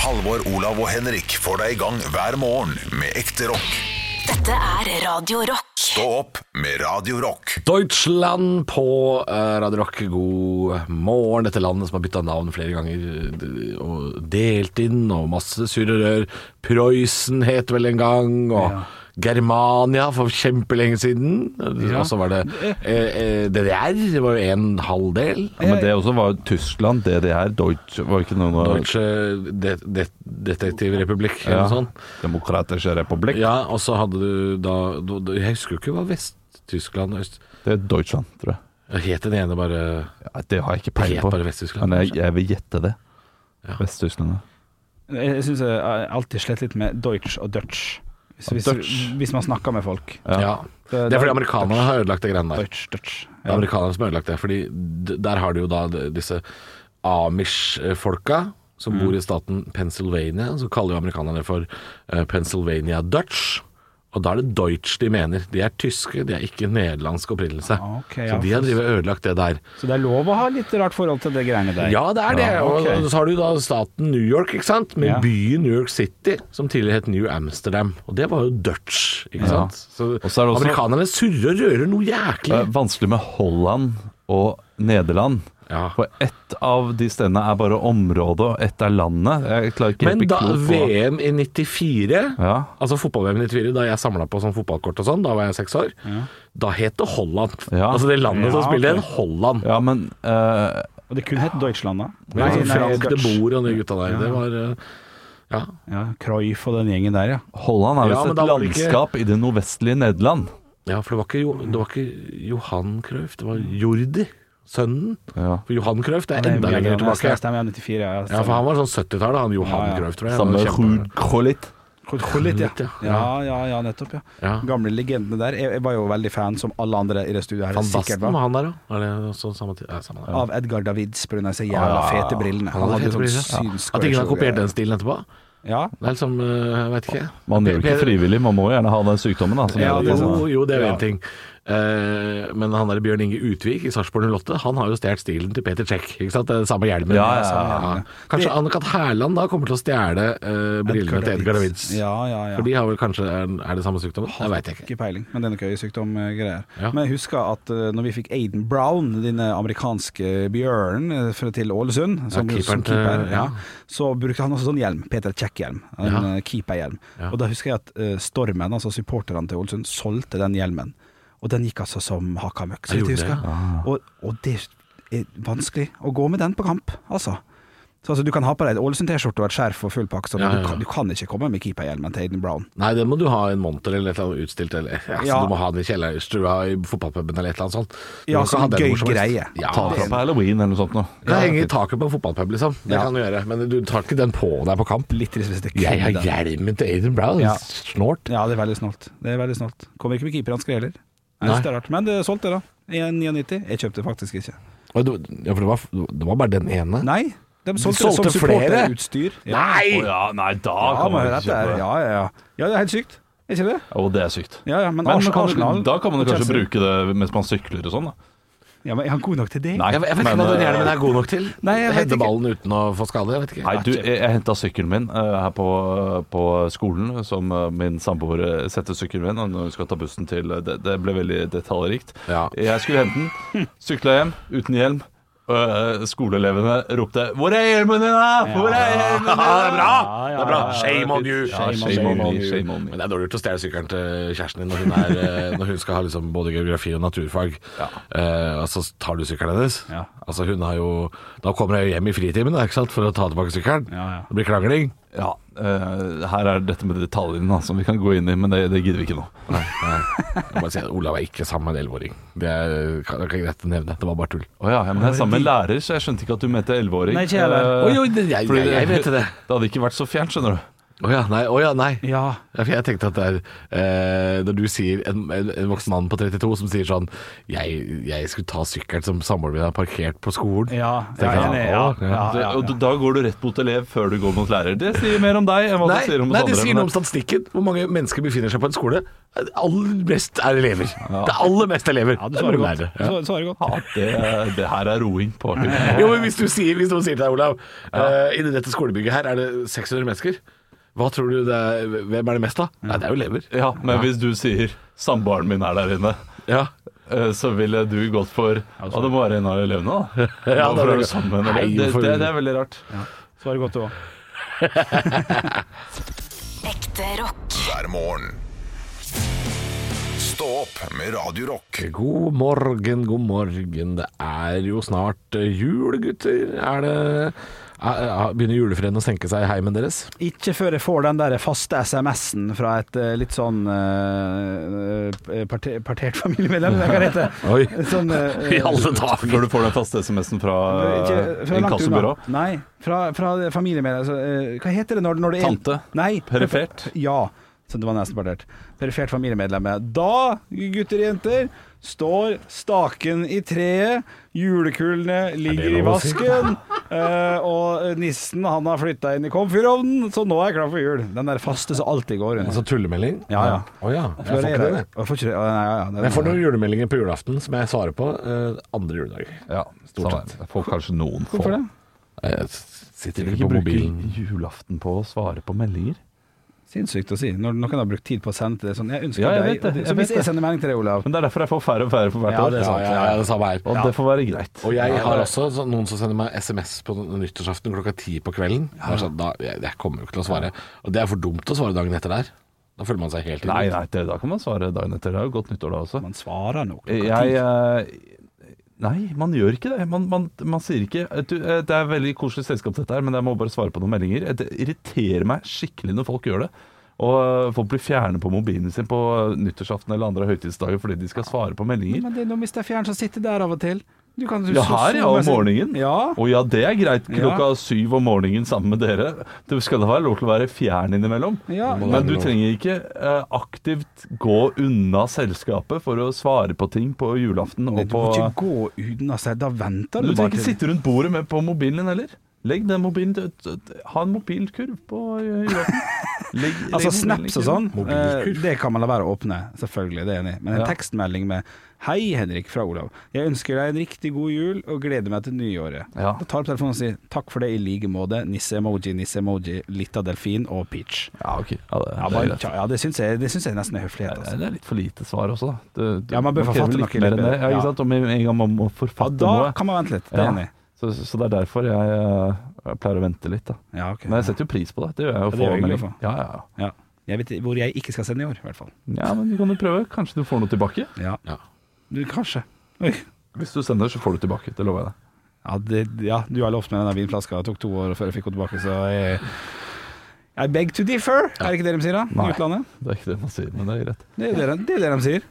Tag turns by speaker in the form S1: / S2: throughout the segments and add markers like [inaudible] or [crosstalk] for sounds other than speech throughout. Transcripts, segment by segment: S1: Halvor, Olav og Henrik får deg i gang hver morgen med ekte rock.
S2: Dette er Radio Rock.
S1: Stå opp med Radio Rock.
S3: Deutschland på eh, Radio Rock. God morgen. Dette landet som har bytta navn flere ganger d- og delt inn, og masse surr og rør. Prøysen het vel en gang, og Germania for kjempelenge siden. Og så var det eh, eh, DDR, det var jo en halv del.
S4: Ja, men det også var jo Tyskland, DDR, Deutsch Var ikke noe
S3: Deutsche de, de, Detektivrepublikk eller
S4: ja.
S3: noe sånt.
S4: Demokratiske republikk.
S3: Ja, og så hadde du da du- du- Jeg husker jo ikke hva Vest-Tyskland og Øst...
S4: Det er Deutschland, tror jeg.
S3: Het den ene bare
S4: Ja, det har jeg ikke
S3: Det
S4: peiling
S3: het
S4: på.
S3: bare Vest-Tyskland,
S4: Men jeg, jeg vil gjette det. Vest-Tyskland. ja.
S5: Jeg, jeg syns jeg har alltid slet litt med Deutsch og Dutch. Hvis, hvis,
S4: Dutch.
S5: hvis man snakker med folk.
S3: Ja.
S5: Det-
S3: Det er fordi amerikanerne har ødelagt det greiene der.
S5: Deutsch, Dutch.
S3: Det er amerikanerne som har ødelagt det. Fordi d- der har du jo da d- disse Amish-folka som bor i staten Pennsylvania. Så kaller jo amerikanerne for eh, Pennsylvania Dutch. Og da er det Deutsch de mener. De er tyske, de er ikke nederlandsk opprinnelse.
S5: Ok,
S3: så
S5: ja.
S3: de har drevet og ødelagt det der.
S5: Så det er lov å ha litt rart forhold til det greiene der.
S3: Ja, det er det.
S5: Ja, ok.
S3: Og så har du da staten New York, ikke sant. Med
S5: Ja.
S3: byen New York City, som tidligere het New Amsterdam. Og det var jo Dutch, ikke sant. Så,
S4: Og så er det også-
S3: amerikanerne surrer og rører noe
S4: Det
S3: jæklig.
S4: er vanskelig med Holland og Nederland.
S3: Ja.
S4: For ett av de stedene er bare området, og ett er landet. Jeg klarer ikke
S3: Men
S4: helt å
S3: da
S4: bli klok på
S3: VM i 94
S4: Ja.
S3: Altså fotball-VM i 94, da jeg samla på sånn fotballkort og sånn, da var jeg seks år, da het det Holland.
S4: Ja.
S3: Altså det landet som
S5: Ja,
S3: spiller
S5: ok.
S3: en Holland.
S4: Ja, men eh,
S5: Og det kunne hett Deutschland, da.
S3: Det var sånn
S5: Nei, nei,
S3: Frank de
S5: Dutch.
S3: Boer og de gutta der. Det var eh, Ja.
S5: Ja, Cruyff og den gjengen der, ja.
S4: Holland er
S3: Ja,
S4: visst
S3: men da
S4: et
S3: var det ikke-
S4: landskap i det nordvestlige Nederland.
S3: ja, for det var, ikke, Jo- det var ikke Johan Cruyff, det var Jordi, sønnen.
S4: Ja.
S3: For Johan Cruyff det er enda lenger tilbake.
S5: Stemmer, ja, 94, ja.
S3: Ja, for han var sånn 70-tallet, han Johan
S5: Ja, ja.
S3: Cruyff, tror jeg.
S4: Samme
S3: Han var kjempe-
S4: Ruud Krullit.
S5: Krullit, ja.
S3: ja.
S5: Ja, ja, ja, nettopp, ja.
S3: Ja.
S5: Gamle legendene der. Jeg, jeg var jo veldig fan, som alle andre i det studioet her
S3: Van
S5: sikkert
S3: Basten
S5: var,
S3: var han der, da? Er det også samme tid? Nei, samme der.
S5: av Edgar Davids pga. disse jævla fete brillene.
S3: Han
S5: Han
S3: hadde
S5: hadde jo
S3: fete
S5: sånn
S3: briller.
S5: synsk
S3: At ingen har kopiert den stilen etterpå?
S5: Ja,
S3: Det er liksom, eh, jeg vet ikke.
S4: Man gjør jo ikke
S3: Per-
S4: frivillig, man må jo gjerne ha den sykdommen. Da, som liksom. gjør
S5: Ja, det er
S4: at man-
S3: Jo, jo, det er jo
S5: Ja.
S3: én ting. Eh, men han der Bjørn Inge Utvik i Sarpsborg 08, han har jo stjålet stilen til Peter Czech. Ikke sant? Det er den samme hjelmen.
S4: Ja, ja, ja.
S3: Kanskje Anne-Kat. Hærland da kommer til å stjele eh, brillene til Edgar Davids.
S5: Ja, ja, ja.
S3: For de har vel kanskje er, er det samme sykdommen? Det veit jeg ikke.
S5: Ikke peiling, men det er noe øyesykdom-greier.
S3: Ja.
S5: Men jeg husker at eh, når vi fikk Aiden Brown, denne amerikanske bjørnen eh, fra- til Ålesund, som,
S3: Ja, keeperen
S5: som
S3: til-
S5: keeper, ja.
S3: ja.
S5: så brukte han også sånn hjelm, Peter Check-hjelm, en
S3: Ja.
S5: eh, keeperhjelm.
S3: Ja.
S5: Og da husker jeg at eh, Stormen, altså supporterne til Ålesund, solgte den hjelmen. Og den gikk altså som hakka møkk, så
S3: Ja,
S5: vidt jeg
S3: gjorde
S5: husker.
S3: det?
S5: Og, og det er vanskelig å gå med den på kamp, altså. Så altså, Du kan ha på deg et Ålesund-T-skjorte og et skjerf og full pakke, så
S3: Ja, ja,
S5: Du,
S3: ja.
S5: kan, du kan ikke komme med keeperhjelmen til Aiden Brown.
S3: Nei, den må du ha en monter eller et eller annet utstilt. Eller, altså,
S5: Ja.
S3: Du må ha den i kjellerstua i fotballpuben eller et eller annet sånt. Du kan
S5: Ja,
S3: ikke
S5: sånn
S3: ha den
S5: gøy
S3: hvor som helst.
S5: greie.
S3: Ja,
S4: Ta fra på halloween eller noe sånt noe.
S3: Du kan henge i taket på en fotballpub, liksom. Det
S5: Ja.
S3: kan du gjøre. Men du tar ikke den på deg på kamp.
S5: Litt trist hvis det
S3: Jeg har
S5: kunne den.
S3: hjelmen til Aiden Brown.
S5: Ja.
S3: Snålt.
S5: Ja, det er veldig snålt. Det er veldig snålt. Kommer ikke med keeperhansker heller. Jeg
S3: Nei.
S5: synes det er rart, men det er solgt det, da. 1,99. Jeg kjøpte faktisk ikke.
S3: Og du- Ja, for det var, det var bare den ene.
S5: Nei, de solgte,
S3: solgte
S5: det som
S3: flere?
S5: supporterutstyr. Ja.
S3: Nei!
S4: Å ja, nei, da
S5: Ja,
S4: kan
S5: men
S4: man
S5: hør
S4: ikke
S5: etter her.
S4: kjøpe det.
S5: ja, ja, ja. ja, det er helt sykt. Er ikke det?
S4: Å, det er sykt.
S5: Ja, ja, men,
S4: Men
S5: Arsenal, Arsenal
S4: da kan man jo
S5: og
S4: kanskje
S5: Chelsea.
S4: bruke det mens man sykler og sånn, da.
S5: Ja, men Er han god nok til det?
S4: Nei,
S3: Jeg, jeg vet ikke
S4: men,
S3: hva den
S4: eh,
S3: hjelmen er god nok til.
S5: Nei, jeg vet
S3: Hedde
S5: ikke.
S3: ballen uten å få skade. Jeg vet ikke.
S4: Nei, du, jeg, jeg henta sykkelen min eh, her på, på skolen, som eh, min samboer eh, setter sykkelen min og når hun skal ta bussen til eh, det, det ble veldig detaljrikt.
S3: Ja.
S4: Jeg skulle hente den, sykla hjem uten hjelm. Uh, skoleelevene ropte 'Hvor er hjelmen din, da?' Hvor er hjelmen din? da?"
S5: [laughs] Ja, ja,
S3: Det er bra.
S5: ja, ja.
S3: Shame on you.
S4: Ja, shame on me, shame on
S3: Men
S4: me.
S3: det er dårlig gjort å stjele sykkelen til kjæresten din når
S5: [laughs]
S3: hun, er, eh, når hun skal ha liksom både geografi og naturfag. Eh, og så tar du sykkelen hennes.
S5: Ja.
S3: Altså hun har jo Da kommer jeg jo hjem i fritimen da, ikke sant? for å ta tilbake sykkelen.
S5: Ja, ja.
S3: Det blir krangling.
S4: Ja, eh, her er dette med detaljene da, som vi kan gå inn i, men det, det gidder vi ikke nå.
S3: Nei, nei. Jeg må bare si at Olav er ikke sammen med en elleveåring. Det er det kan ikke greit å nevne. Det var bare tull.
S4: Å ja, ja, men jeg er sammen med en lærer, så jeg skjønte ikke at du mente elleveåring.
S5: Nei, ikke jeg heller.
S4: Eh,
S3: Oi, oi, det- jeg-
S4: fordi [laughs]
S3: jeg- jeg vet det.
S4: Det hadde ikke vært så fjernt, skjønner du.
S3: Å ja, nei. Å ja, nei.
S5: Ja.
S3: Ja, for jeg tenkte at det er eh, Når du sier en, en, en voksen mann på 32 som sier sånn Jeg, jeg skulle ta sykkelen som samboeren min har parkert på skolen.
S5: Ja,
S3: Så tenker
S5: ja,
S3: jeg,
S5: enig, ja,
S3: «Å,
S5: ja.
S4: Det- Og d- da går du rett mot elev før du går mot lærer. Det sier mer om deg enn hva
S3: Nei,
S4: det sier om oss
S3: nei, det
S4: andre.
S3: sier
S4: men-
S3: noe om statistikken. Hvor mange mennesker befinner seg på en skole. Det Aller mest er elever. Det er aller mest elever.
S5: ja, du
S3: Det er bare
S5: svarer godt.
S3: lærere.
S5: Du
S3: Ja.
S5: svarer- svarer godt.
S4: Ja, det, det her er roing på høyt nivå.
S3: [laughs] Jo, men hvis, du sier, hvis noen sier til deg, Olav, eh, inni dette skolebygget her er det 600 mennesker. Hva tror du det er, Hvem er det mest av? Nei, det er jo elever.
S4: Ja, men hvis du sier 'samboeren min er der inne',
S3: Ja.
S4: eh, så ville du gått for Ja, det må være en av elevene, da.
S3: [laughs] Ja,
S4: Nå
S3: det er
S4: får du
S3: det.
S4: sammen, eller?
S3: Nei,
S4: det,
S3: hvorfor-
S4: det, det er veldig rart.
S5: Svarer godt, du òg.
S2: Ekte rock.
S1: hver morgen. Stå opp med Radio Rock.
S3: God morgen, god morgen. Det er jo snart eh, jul, gutter. Er det er, er, Begynner julefreden å senke seg i heimen deres?
S5: Ikke før jeg får den der faste SMS-en fra et eh, litt sånn eh, eh, parte- partert [laughs] familiemedlem, eller hva det heter
S4: [laughs]
S3: Oi.
S5: Sånn, eh,
S3: dager!
S4: Når du får den faste SMS-en fra
S5: Ikke,
S4: eh,
S5: fra langt unna.
S4: inkassobyrå.
S5: Nei, fra, fra familiemedlem. Altså, eh, hva heter det når, når det er
S4: Tante.
S5: Nei,
S4: Perifert.
S5: Ja, så det var nesten partert. Perifert familiemedlem. Da, gutter og jenter, står staken i treet, julekulene ligger i
S3: lov å si?
S5: vasken, eh, og nissen han har flytta inn i komfyrovnen, så nå er jeg klar for jul. Den der faste som alltid går rundt.
S3: Altså tullemelding?
S5: Ja, ja.
S3: Å ja. Jeg får ikke det. jeg.
S5: Jeg får ikke det. Ja, nei, ja, ja, det-
S3: Men Jeg får noen julemeldinger på julaften som jeg svarer på eh, andre juledager.
S4: Ja,
S3: Stort
S4: samme. Jeg får kanskje noen få.
S5: Hvorfor det?
S3: Jeg s- sitter
S4: Ikke
S3: ikke på mobilen.
S4: bruke julaften på å svare på meldinger.
S5: Sinnssykt å si. Når noen har brukt tid på å sende til det sånn. Jeg ønsker
S4: Ja, jeg
S5: deg
S4: vet det,
S5: og det-
S4: jeg
S5: Så
S4: vet
S5: hvis jeg
S4: det.
S5: sender melding til deg, Olav
S4: Men det er derfor jeg får færre og færre for hvert
S5: Ja,
S4: år.
S5: det er sant.
S3: ja, ja, det samme her.
S4: Og det får være greit.
S3: Og jeg
S4: Ja,
S3: har
S4: det-
S3: også sånn- noen som sender meg SMS på nyttårsaften klokka ti på kvelden. Det er sånn, da, jeg, jeg kommer jo ikke til å svare. Og det er for dumt å svare dagen etter der. Da føler man seg helt
S4: Nei, nei, det, da kan man svare dagen etter. Det er jo godt nyttår da også.
S5: Man svarer nok.
S4: Jeg eh, Nei, man gjør ikke det. Man, man, man sier ikke du, eh, Det er veldig koselig selskap dette her, men jeg må bare svare på noen meldinger. Eh, Det irriterer meg skikkelig når folk gjør det. Og eh, folk blir fjerne på mobilen sin på eh, nyttårsaften eller andre høytidsdager fordi de skal svare på meldinger.
S5: Men det er noe Mr. Fjern som sitter der av og til. Du kan,
S4: Ja, her ja, om morgenen.
S5: Ja.
S4: Å ja, det er greit. Klokka
S5: Ja.
S4: syv om morgenen sammen med dere. Du skal da være lov til å være fjern innimellom.
S5: Ja.
S4: Men du trenger ikke eh, aktivt gå unna selskapet for å svare på ting på julaften og
S5: Nei, du
S4: på
S5: må ikke gå uten av seg. Da venter
S4: Du
S5: du,
S4: trenger
S5: bare
S4: ikke
S5: til
S4: sitte rundt bordet med på mobilen din heller. Legg den mobilen til- til- til- Ha en mobilkurv på eh,
S5: [laughs]
S4: julaften. Legg, legg
S5: Altså
S4: mobilen i liksom.
S5: snaps og
S4: kurven.
S5: sånn, eh, det kan man la være å åpne. Selvfølgelig, det er jeg enig. i. Men en
S4: Ja.
S5: tekstmelding med 'Hei, Henrik fra Olav. Jeg ønsker deg en riktig god jul og gleder meg til nyåret'.
S4: Ja.
S5: Da tar du opp telefonen og sier 'Takk for det i like måte'. Nisse-emoji, nisse-emoji, litt av delfin og peach.
S4: Eh, Ja, ok. Ja, det,
S5: Ja,
S4: det, er
S5: bare,
S4: greit.
S5: tja, ja, det syns jeg, det syns jeg nesten er høflighet.
S4: Ja,
S5: Altså.
S4: det er litt for lite svar også. da. Du, du,
S5: Ja, man bør
S4: krever
S5: forfatte
S4: litt
S5: noe
S4: mer
S5: litt
S4: enn det. Ja,
S5: bedre.
S4: ikke sant? Og med en gang man må
S5: Ja,
S4: forfatte
S5: da
S4: noe
S5: kan man vente litt. Det er
S4: Ja.
S5: jeg enig. i.
S4: Så, så det er derfor jeg, eh, jeg pleier å vente litt. da.
S5: Ja, ok.
S4: Men jeg setter jo pris på det. Det gjør jeg jo.
S5: Ja, det
S4: få
S5: er hyggelig å
S4: melding.
S5: få.
S4: Ja, ja, ja.
S5: Ja. Jeg vet hvor jeg ikke skal sende i år, i hvert fall.
S4: ja, men du kan jo prøve. Kanskje du får noe tilbake.
S5: Ja.
S3: Ja.
S5: Du, kanskje. Oi.
S4: Hvis du sender, så får du tilbake. Det lover jeg deg.
S5: Ja, det, ja, du har lovt meg denne vinflaska. Det tok to år før jeg fikk den tilbake, så jeg I beg to differ, er det ikke det de sier da?
S4: Nei.
S5: I utlandet?
S4: Det er ikke det man sier, men det er greit.
S5: Det er jo det, de- det, er det de sier.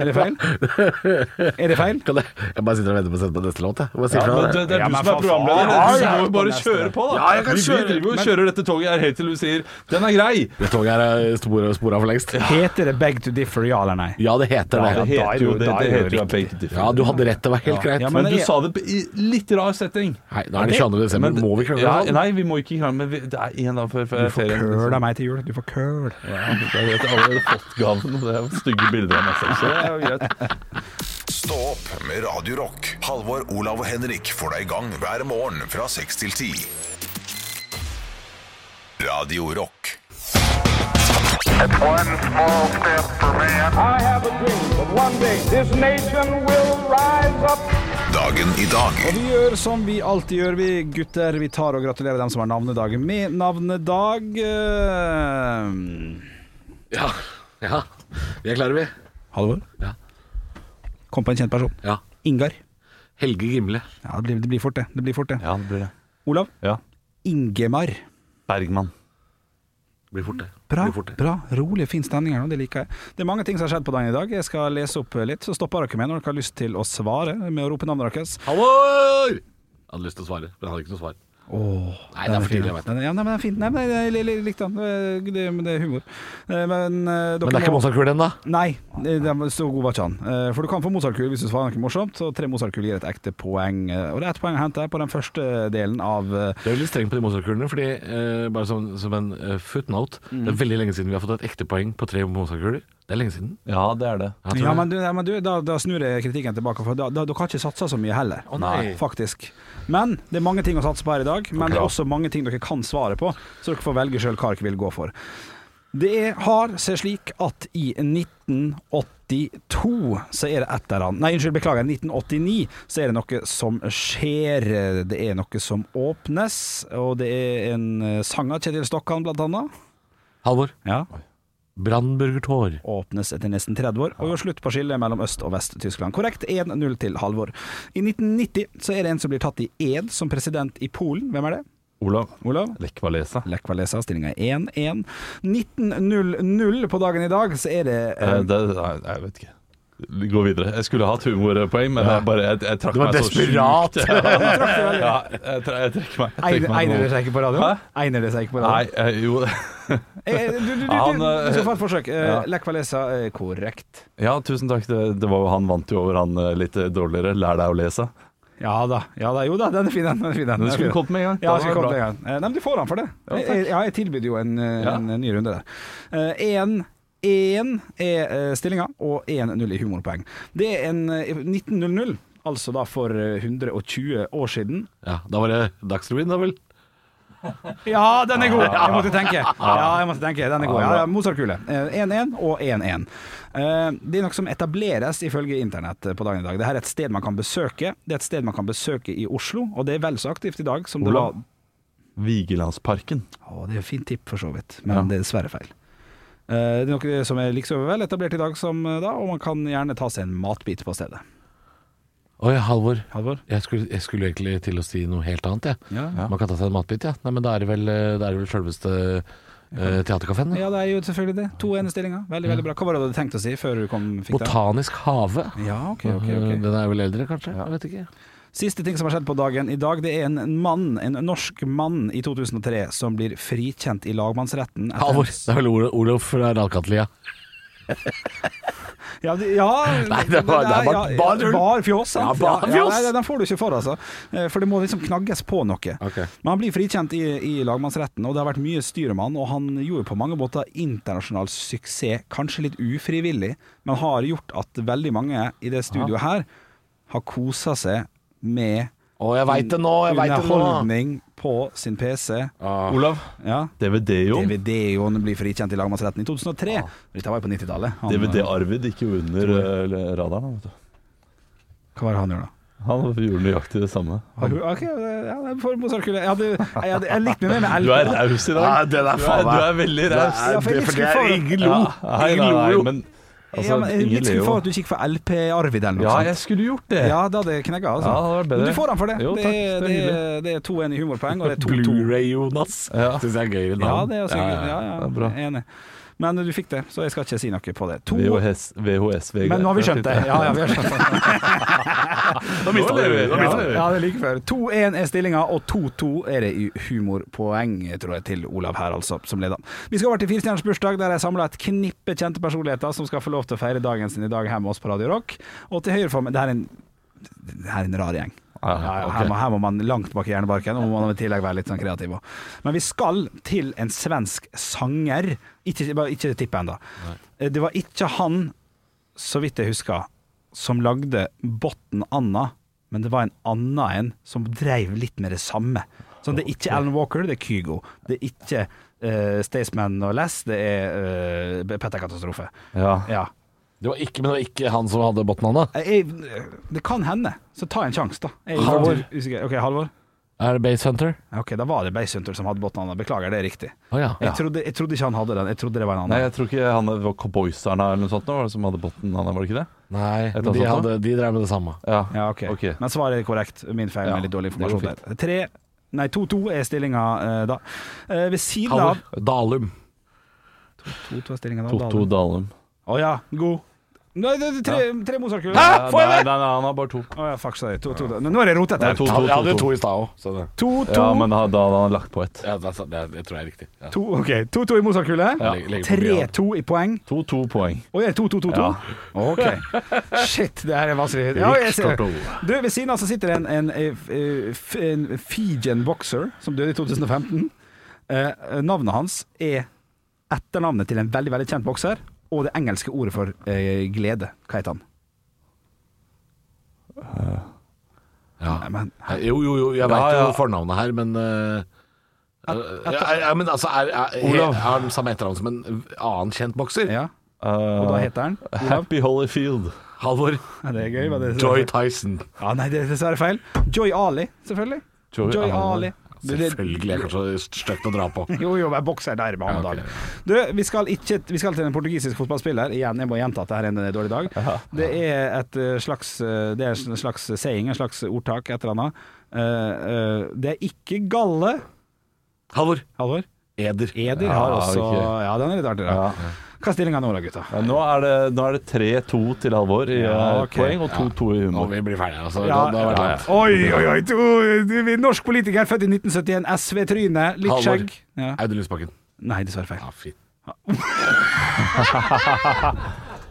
S5: Er det feil? Er det feil?
S3: Kan jeg, jeg bare sitter og venter på å sette på neste låt, jeg. Bare sier fra det.
S5: Ja, men for faen.
S4: Du må jo bare
S5: Ja,
S4: kjøre på, da.
S3: Ja, jeg kan
S4: vi, vi
S3: kjøre,
S4: driver jo og kjører dette toget her helt til du sier 'den er grei'.
S3: Det toget her er spora spora for lengst.
S5: Heter det beg to differ, ja eller nei?
S3: Ja, det heter
S4: det
S3: det.
S4: heter jo det.
S5: da er
S4: det
S5: det
S4: heter jo
S5: riktig.
S4: baked different.
S3: Ja, du hadde rett, det var helt greit.
S5: Ja,
S4: men,
S5: men
S4: du
S5: det-
S4: sa det i litt rar setting.
S3: Nei, da er det 22. desember,
S4: Men-
S3: må vi krangle
S4: ja,
S3: sånn?
S4: Nei, vi må ikke krangle, men vi, det er én dag før før
S5: Du får liksom.
S4: ferien.
S5: køl av meg til jul. Du får køl.
S4: Ja, jeg vet, jeg har allerede fått gaven, og det er jo stygge bilder av meg selv. Så det er jo greit.
S1: Stå opp med Radio Rock. Halvor, Olav og Henrik får deg i gang hver morgen fra 6 til 10. Radio Rock.
S6: One small step for man.
S7: I have a dream that one day this nation will rise up.
S1: Dagen i dag.
S5: Og vi gjør som vi alltid gjør, vi gutter. Vi tar og gratulerer dem som har navnedag med navnedag. Eh,
S3: Ja. ja. Vi er klare, vi.
S5: Halvor?
S3: Ja.
S5: Kom på en kjent person.
S3: Ja.
S5: Ingar.
S3: Helge Gimle.
S5: Ja, det blir, det blir fort det. det, blir fort det.
S4: Ja, det blir det.
S5: Olav
S4: Ja.
S5: Ingemar.
S4: Bergman.
S3: Blir fort, det.
S5: Bra,
S3: Blir fort, det.
S5: bra, rolig, fin stemning her nå, det liker jeg. Det er mange ting som har skjedd på dagen i dag. Jeg skal lese opp litt, så stopper dere meg når dere har lyst til å svare med å rope navnet deres.
S3: Halvor! Jeg hadde lyst til å svare, men jeg hadde ikke noe svar. Nei, det er for tidlig, jeg vet det.
S5: Den, ja, nei, men den er fin. Nei, men jeg, jeg, jeg likte den. Det, det, men det er humor. Eh, Men, eh, dere
S3: Men det er ikke
S5: må-
S3: Mozart-kul ennå?
S5: Nei, det, det, så god var ikke han. Eh, For du kan få Mozartkul hvis du svarer noe morsomt, og tre Mozartkul gir et ekte poeng. Eh, Og det er ett poeng å hente på den første delen av eh,
S3: Du er jo litt streng på de Mozart-kulene, fordi eh, bare som, som en eh, footnote Det er veldig lenge siden vi har fått et ekte poeng på tre Mozart-kuler. Det er lenge siden.
S4: Ja, det er det.
S3: Ja, tror
S5: Ja,
S3: jeg.
S5: men, du, ja, men du, da, da snur jeg kritikken tilbake, for da, da, dere har ikke satsa så mye heller.
S3: Å, nei.
S5: Faktisk. Men det er mange ting å satse på her i dag, men
S3: Ok.
S5: det er også mange ting dere kan svare på, så dere får velge sjøl hva dere vil gå for. Det er, har seg slik at i 1982 så er det et eller annet Nei, unnskyld, beklager. 1989 så er det noe som skjer. Det er noe som åpnes, og det er en eh, sang av Kjetil Stokkan, blant annet.
S3: Halvor.
S5: Ja
S3: Brannburgertår.
S5: åpnes etter nesten 30 år, og gjør slutt på skillet mellom Øst- og Vest-Tyskland. Korrekt 1-0 til Halvor. I 1990 så er det en som blir tatt i ed som president i Polen. Hvem er det?
S4: Olav,
S5: Olav?
S4: lekk hva lese.
S5: Lech Walesa, stillinga er 1-1. 19.00 på dagen i dag, så er det eh,
S4: Eh, det, nei, jeg vet ikke. Gå videre. Jeg skulle hatt humorpoeng, men jeg bare Jeg, jeg trakk
S3: Du var
S4: meg så
S3: desperat.
S4: sjukt. [laughs] Ja, [laughs] ja, jeg, tre- jeg trekker meg. Jeg trekker
S5: Egner
S4: meg
S5: egner
S4: nå.
S5: det seg ikke på radio?
S4: Hæ?
S5: Egner det seg ikke på radio?
S4: Nei, eh, jo [laughs]
S5: Eh, du, du, du, du,
S4: Han, eh,
S5: du skal få et forsøk. Eh,
S4: ja.
S5: Lech Walesa er korrekt.
S4: Ja, tusen takk. Det, det var, han vant jo over han eh, litt dårligere. Lær deg å lese.
S5: Ja da. ja da, Jo da, den er fin, den. den, er fin, den.
S4: Men du
S5: Den er
S4: skulle
S5: fin.
S4: kommet med en gang.
S5: Ja,
S4: Da
S5: skal
S4: var
S5: komme
S4: det
S5: til en gang. Eh, Nei, men du får den for det.
S4: Ja, takk.
S5: jeg, jeg, jeg tilbyr jo en, eh,
S4: Ja.
S5: en ny runde der. Én er eh, stillinga, og 1-0 i humorpoeng. Det er en eh, 1900, altså da for eh, 120 år siden.
S3: Ja, da var det Dagsrevyen, da vel?
S5: Ja, den er god! Jeg måtte tenke. Ja, jeg måtte tenke. Den er god. Ja, ja, Mozart-kule. Eh, 1-1 og 1-1. Eh, Det er noe som etableres ifølge internett eh, på dagen i dag. Dette er et sted man kan besøke. Det er et sted man kan besøke i Oslo, og det er vel så aktivt i dag som det
S4: Olav.
S5: var
S4: Vigelandsparken.
S5: Å, det er jo fint tipp for så vidt, men det er dessverre feil. Eh, det er noe som er liksom vel etablert i dag som eh, da, og man kan gjerne ta seg en matbit på stedet.
S3: Oi, Halvor.
S5: Halvor?
S3: Jeg skulle, jeg skulle egentlig til å si noe helt annet, jeg.
S5: Ja.
S3: Man kan ta seg en matbit, ja. Nei, men da er det vel, eh, da er det vel selveste uh, teaterkafeen.
S5: ja, det er jo selvfølgelig det. To enestillinger. Veldig, veldig bra. Hva var det du hadde tenkt å si før du kom, fikk det?
S3: Botanisk hage.
S5: Ja, ok, ok, ok.
S3: [laughs] Den er vel eldre, kanskje? Jeg vet ikke.
S5: Siste ting som har skjedd på dagen i dag, det er en mann, en norsk mann i 2003, som blir frikjent i lagmannsretten. etter-
S3: Halvor. Det er vel Ol- Olof fra Ralkatelia.
S5: Ja, det, ja
S3: Nei, det var- det var
S5: ja,
S3: bare tull.
S5: Bar fjås, sant?
S3: Ja, bare
S5: Ja,
S3: fjås.
S5: nei, den får du ikke for, altså. Eh, For det må liksom knagges på noe.
S3: Ok.
S5: Men han blir frikjent i, i lagmannsretten, og det har vært mye styr om han. Og han gjorde på mange måter internasjonal suksess, kanskje litt ufrivillig, men har gjort at veldig mange i det studioet her har kosa seg med
S3: Å, jeg veit det nå! Jeg veit det nå!
S5: underholdning på sin PC.
S3: Ah,
S4: Olav,
S5: Ja.
S4: DVD-Jon.
S5: DVD-en blir frikjent i lagmannsretten i 2003. Dette var jo på 90-tallet. Han- eh,
S4: DVD-Arvid gikk jo under eh, radaren. Vet du.
S5: Hva var det han gjorde da?
S4: Han gjorde nøyaktig det samme.
S5: Ok, ok, ja, det er for Mozart-kule. Jeg, hadde- jeg, hadde- jeg likte meg med, men jeg
S4: Du er raus i dag.
S3: Ja, den er
S4: du,
S3: faen
S4: er,
S3: meg-
S4: du er veldig raus.
S5: Ja, for jeg er litt skuffa over-
S3: ingen
S4: Nei, nei, nei, men altså,
S5: Ja, men jeg er
S4: ingen
S5: litt
S4: ler
S5: skuffa
S4: jo.
S5: over at du ikke får LP-Arvid eller noe
S4: Ja,
S5: sånt.
S4: jeg skulle gjort det.
S5: Ja, da hadde jeg knekka, altså.
S4: Ja, det hadde vært bedre.
S5: Men du får den for det.
S4: Jo,
S5: det,
S4: takk.
S5: er-
S4: Det
S5: det,
S4: er
S5: er- det er 2-1 i humorpoeng, og det er 2-2.
S3: Blu-ray-Jonas.
S4: Ja.
S3: Syns jeg er gøyere navn.
S5: Ja, det er også
S3: Ja,
S5: ja,
S3: ja, ja.
S5: ja,
S4: det er bra.
S5: Enig. Men du fikk det, så jeg skal ikke si noe på det. To, men
S4: VHS, VHS Vegard.
S5: nå har vi
S4: [laughs]
S5: skjønt det. Ja, ja, vi har skjønt det.
S4: Da mista vi det.
S5: Ja, ja, det er like før. 2-1 er stillinga, og 2-2 er det i humorpoeng, tror jeg, til Olav her, altså, som leder. Vi skal over til Firestjerners bursdag, der jeg samla et knippe kjente personligheter som skal få lov til å feire dagen sin i dag her med oss på Radio Rock. Og til høyre for meg Det her er en, det her er en rar gjeng.
S4: Ja,
S5: Ja, ja,
S4: ok.
S5: her, må, her må man langt bak i hjernebarken, og må man i tillegg være litt sånn kreativ òg. Men vi skal til en svensk sanger. Ikke, bare ikke tippe ennå. Det var ikke han, så vidt jeg husker, som lagde Botten Anna, men det var en annen en som dreiv litt med det samme. Så det er ikke Alan Walker, det er Kygo. Det er ikke eh, Staysman og Lass, det er eh, Petter Katastrofe.
S4: Ja.
S5: Ja.
S3: Det var ikke, men det var ikke han som hadde Botnana.
S5: Jeg, jeg, det kan hende, så ta en sjanse, da. Jeg er
S3: Halvor.
S5: faktisk usikker. Ok, Halvor.
S3: Er det Base Hunter?
S5: Ok, da var det Beisunter som hadde Botnana. Beklager, det er riktig.
S3: Å ja.
S5: Jeg, trodde, jeg trodde ikke han hadde den. Jeg trodde det var en
S4: Nei,
S5: annen.
S4: jeg tror ikke han det var Cowboyserne eller noe sånt nå, var det som hadde botten han, var det ikke det?
S3: Nei,
S4: Et
S3: men de,
S4: annet
S3: hadde, de drev med det samme.
S4: Ja.
S5: Ja, ok.
S4: Ok.
S5: Men svaret er korrekt. Min feil
S4: Ja,
S5: med litt dårlig
S4: det går
S5: informasjon der. Tre, nei, 2-2 er stillinga eh, da. Eh, ved siden
S3: Halvor Dalum.
S5: av 2-2 er stillinga da.
S4: Totto Dalum.
S5: Å ja, god. Nei, det er tre, tre Mozart-kuler.
S3: Hæ? Får jeg
S4: nei,
S3: det?
S4: nei, nei, han har bare to.
S5: Å ja, fuck seg. To, to, to. Nå er det rotet
S4: Nei,
S5: her.
S4: to,
S5: To,
S4: to,
S3: Jeg hadde
S4: to,
S3: jo to
S4: to.
S3: i stad òg, så det
S5: to.
S4: Ja, men da, da hadde han lagt på ett.
S3: ja, det, er- det, er- det tror jeg er riktig. Ja.
S5: To, ok, 2-2 i Mozart-kule.
S3: Legg- legg på mye av det.
S5: 3-2 i poeng.
S4: To-to poeng.
S5: Og det er 2-2-2-2?
S4: Ja.
S5: Ok. [laughs] Shit, det her er vanskelig. Ja, jeg ser. Du, ved siden av så sitter det en, en, eh, f- en Fijian boxer som døde i 2015. Eh, navnet hans er etternavnet til en veldig veldig kjent bokser, og det engelske ordet for eh, glede. Hva heter han?
S3: Ja.
S5: Nei, men,
S3: Jo, jo, jo, jeg
S4: Ja,
S3: veit jo
S4: ja.
S3: fornavnet her, men eh, ja, ja, men altså, er, er, er,
S4: Olav.
S3: han samme etternavn som en annen kjent bokser?
S5: ja,
S4: Uh,
S5: og da heter han Olav.
S4: Happy Holyfield.
S3: Halvor
S5: Ja, det er gøy, hva det
S3: [laughs] Joy Tyson.
S5: Ja, nei, det er dessverre feil. Joy Ali, selvfølgelig.
S4: Joy
S5: Joy Ali.
S4: Ali.
S5: Det- det-
S3: Selvfølgelig er det kanskje stygt å dra på.
S5: [laughs] Jo, jo, men bokser der med
S3: Ja, ok.
S5: Hamedal. Du, vi skal, ikke, vi skal til en portugisisk fotballspiller. Igjen, jeg må gjenta at det her er en eh, dårlig dag. Det er et eh, slags eh, Det er en slags saying, en slags ordtak, et eller annet. Eh, eh, det er ikke galle.
S3: Halvor
S5: Halvor?
S3: Eder.
S5: Eder
S4: Ja,
S5: har også
S4: ok.
S5: Ja, den er litt artig, da.
S4: Ja.
S5: Hva er stillinga nå da, gutta?
S4: Ja, nå er det, nå er det 3-2 til Halvor i
S5: Ja,
S4: eh,
S5: ok.
S4: poeng og 2-2 i
S3: Nå må
S4: humor.
S3: vi bli ferdige, altså.
S5: Ja,
S3: det, det har vært langt.
S5: Oi, oi, oi! to- du er Norsk politiker, født i 1971, SV-tryne, litt
S3: Halvor.
S5: skjegg. Ja.
S3: Audun Lysbakken.
S5: Nei, dessverre feil.
S3: Ja, [laughs] fint.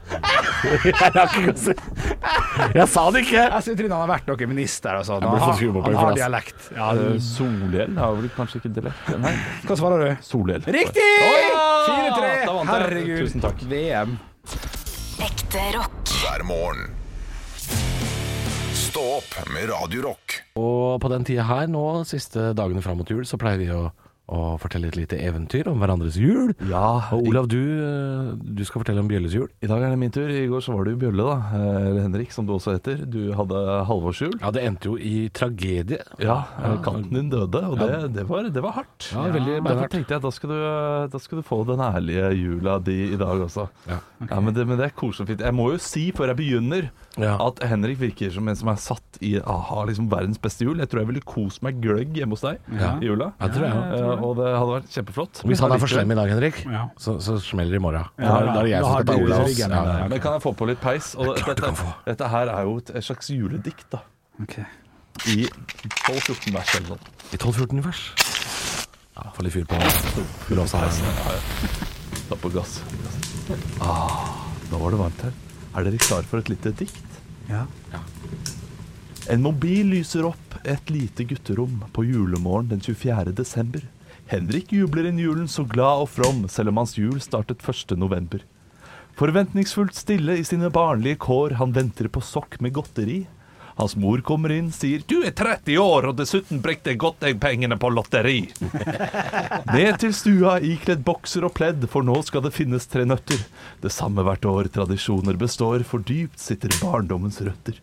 S3: jeg rakk ikke å si Jeg sa det ikke!
S5: SV-tryne han har vært noen minister og sånn.
S3: Jeg ble så
S5: Han,
S3: sur på
S5: har-
S3: meg
S5: han
S3: for
S5: har
S3: det, ass.
S5: dialekt. Ja,
S4: Eh,
S5: du,
S4: Solhjell har vel kanskje ikke dialekt? Nei,
S5: hva svarer du?
S4: Solhjell.
S5: Riktig!
S4: Oi!
S5: 4-3.
S4: Da vant jeg.
S5: Herregud.
S4: Tusen takk.
S5: VM.
S2: Ekte rock.
S1: hver morgen. Stå opp med Radio Rock.
S3: Og på den tida her nå, siste dagene fram mot jul, så pleier vi å, å fortelle et lite eventyr om hverandres jul.
S4: Ja,
S3: Og Olav, du, eh, du skal fortelle om Bjølles jul.
S4: I dag er det min tur. I går så var det jo Bjølle, da. Eh, Eller Henrik, som du også heter. Du hadde halvårshjul.
S3: Ja, det endte jo i tragedie.
S4: Ja, eh, katten din døde, og det, det, var, det var hardt.
S3: Ja, veldig
S4: Men
S3: beinhardt.
S4: Derfor tenkte jeg at da skal, du, da skal du få den ærlige jula di i dag også.
S3: Ja,
S4: ja men, det, men det er koselig og fint. Jeg må jo si før jeg begynner
S3: Ja.
S4: at Henrik virker som en som er satt i aha, liksom verdens beste jul. Jeg tror jeg ville kost meg gløgg hjemme hos deg
S3: Ja.
S4: i jula.
S3: Ja, det tror jeg også.
S4: Eh, og det hadde vært kjempeflott.
S3: Hvis han
S4: Men
S3: er for slem i dag, Henrik,
S5: Ja.
S3: så, så smeller det i morgen. Da, er-
S5: Ja,
S3: da er det jeg
S5: da
S3: som
S5: har
S3: skal ta
S5: du
S3: Olavs.
S5: ryggen.
S3: Ja.
S5: Ja.
S4: Men kan jeg få på litt peis? Og
S3: Det er klart du
S4: dette,
S3: kan få.
S4: dette her er jo et, et slags juledikt, da.
S5: Ok.
S4: I 12-14 vers eller noe.
S3: I 12-14 vers. Ja, Få litt fyr på låsa her.
S4: Ta på gass. Ah, nå var det varmt her. Er dere klar for et lite dikt?
S5: Ja.
S4: En mobil lyser opp et lite gutterom på julemorgen den 24. desember. Henrik jubler inn julen så glad og from, selv om hans jul startet 1. november. Forventningsfullt stille i sine barnlige kår, han venter på sokk med godteri. Hans mor kommer inn, sier 'Du er 30 år, og dessuten brekte godt deg pengene på lotteri'. Ned til stua ikledd bokser og pledd, for nå skal det finnes tre nøtter. Det samme hvert år, tradisjoner består, for dypt sitter barndommens røtter.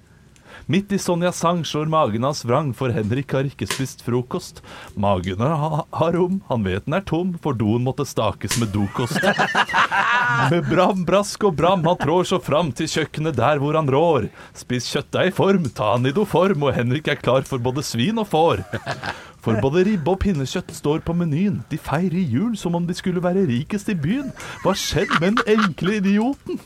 S4: Midt i Sonjas sang slår magen hans vrang, for Henrik har ikke spist frokost. Magen har, har rom, han vet den er tom, for doen måtte stakes med dokost. Med bram, brask og bram, han trår så fram til kjøkkenet der hvor han rår. Spis kjøttdeig i form, ta han i do form, og Henrik er klar for både svin og får. For både ribbe og pinnekjøtt står på menyen. De feirer jul som om de skulle være rikest i byen. Hva skjedde med den enkle idioten?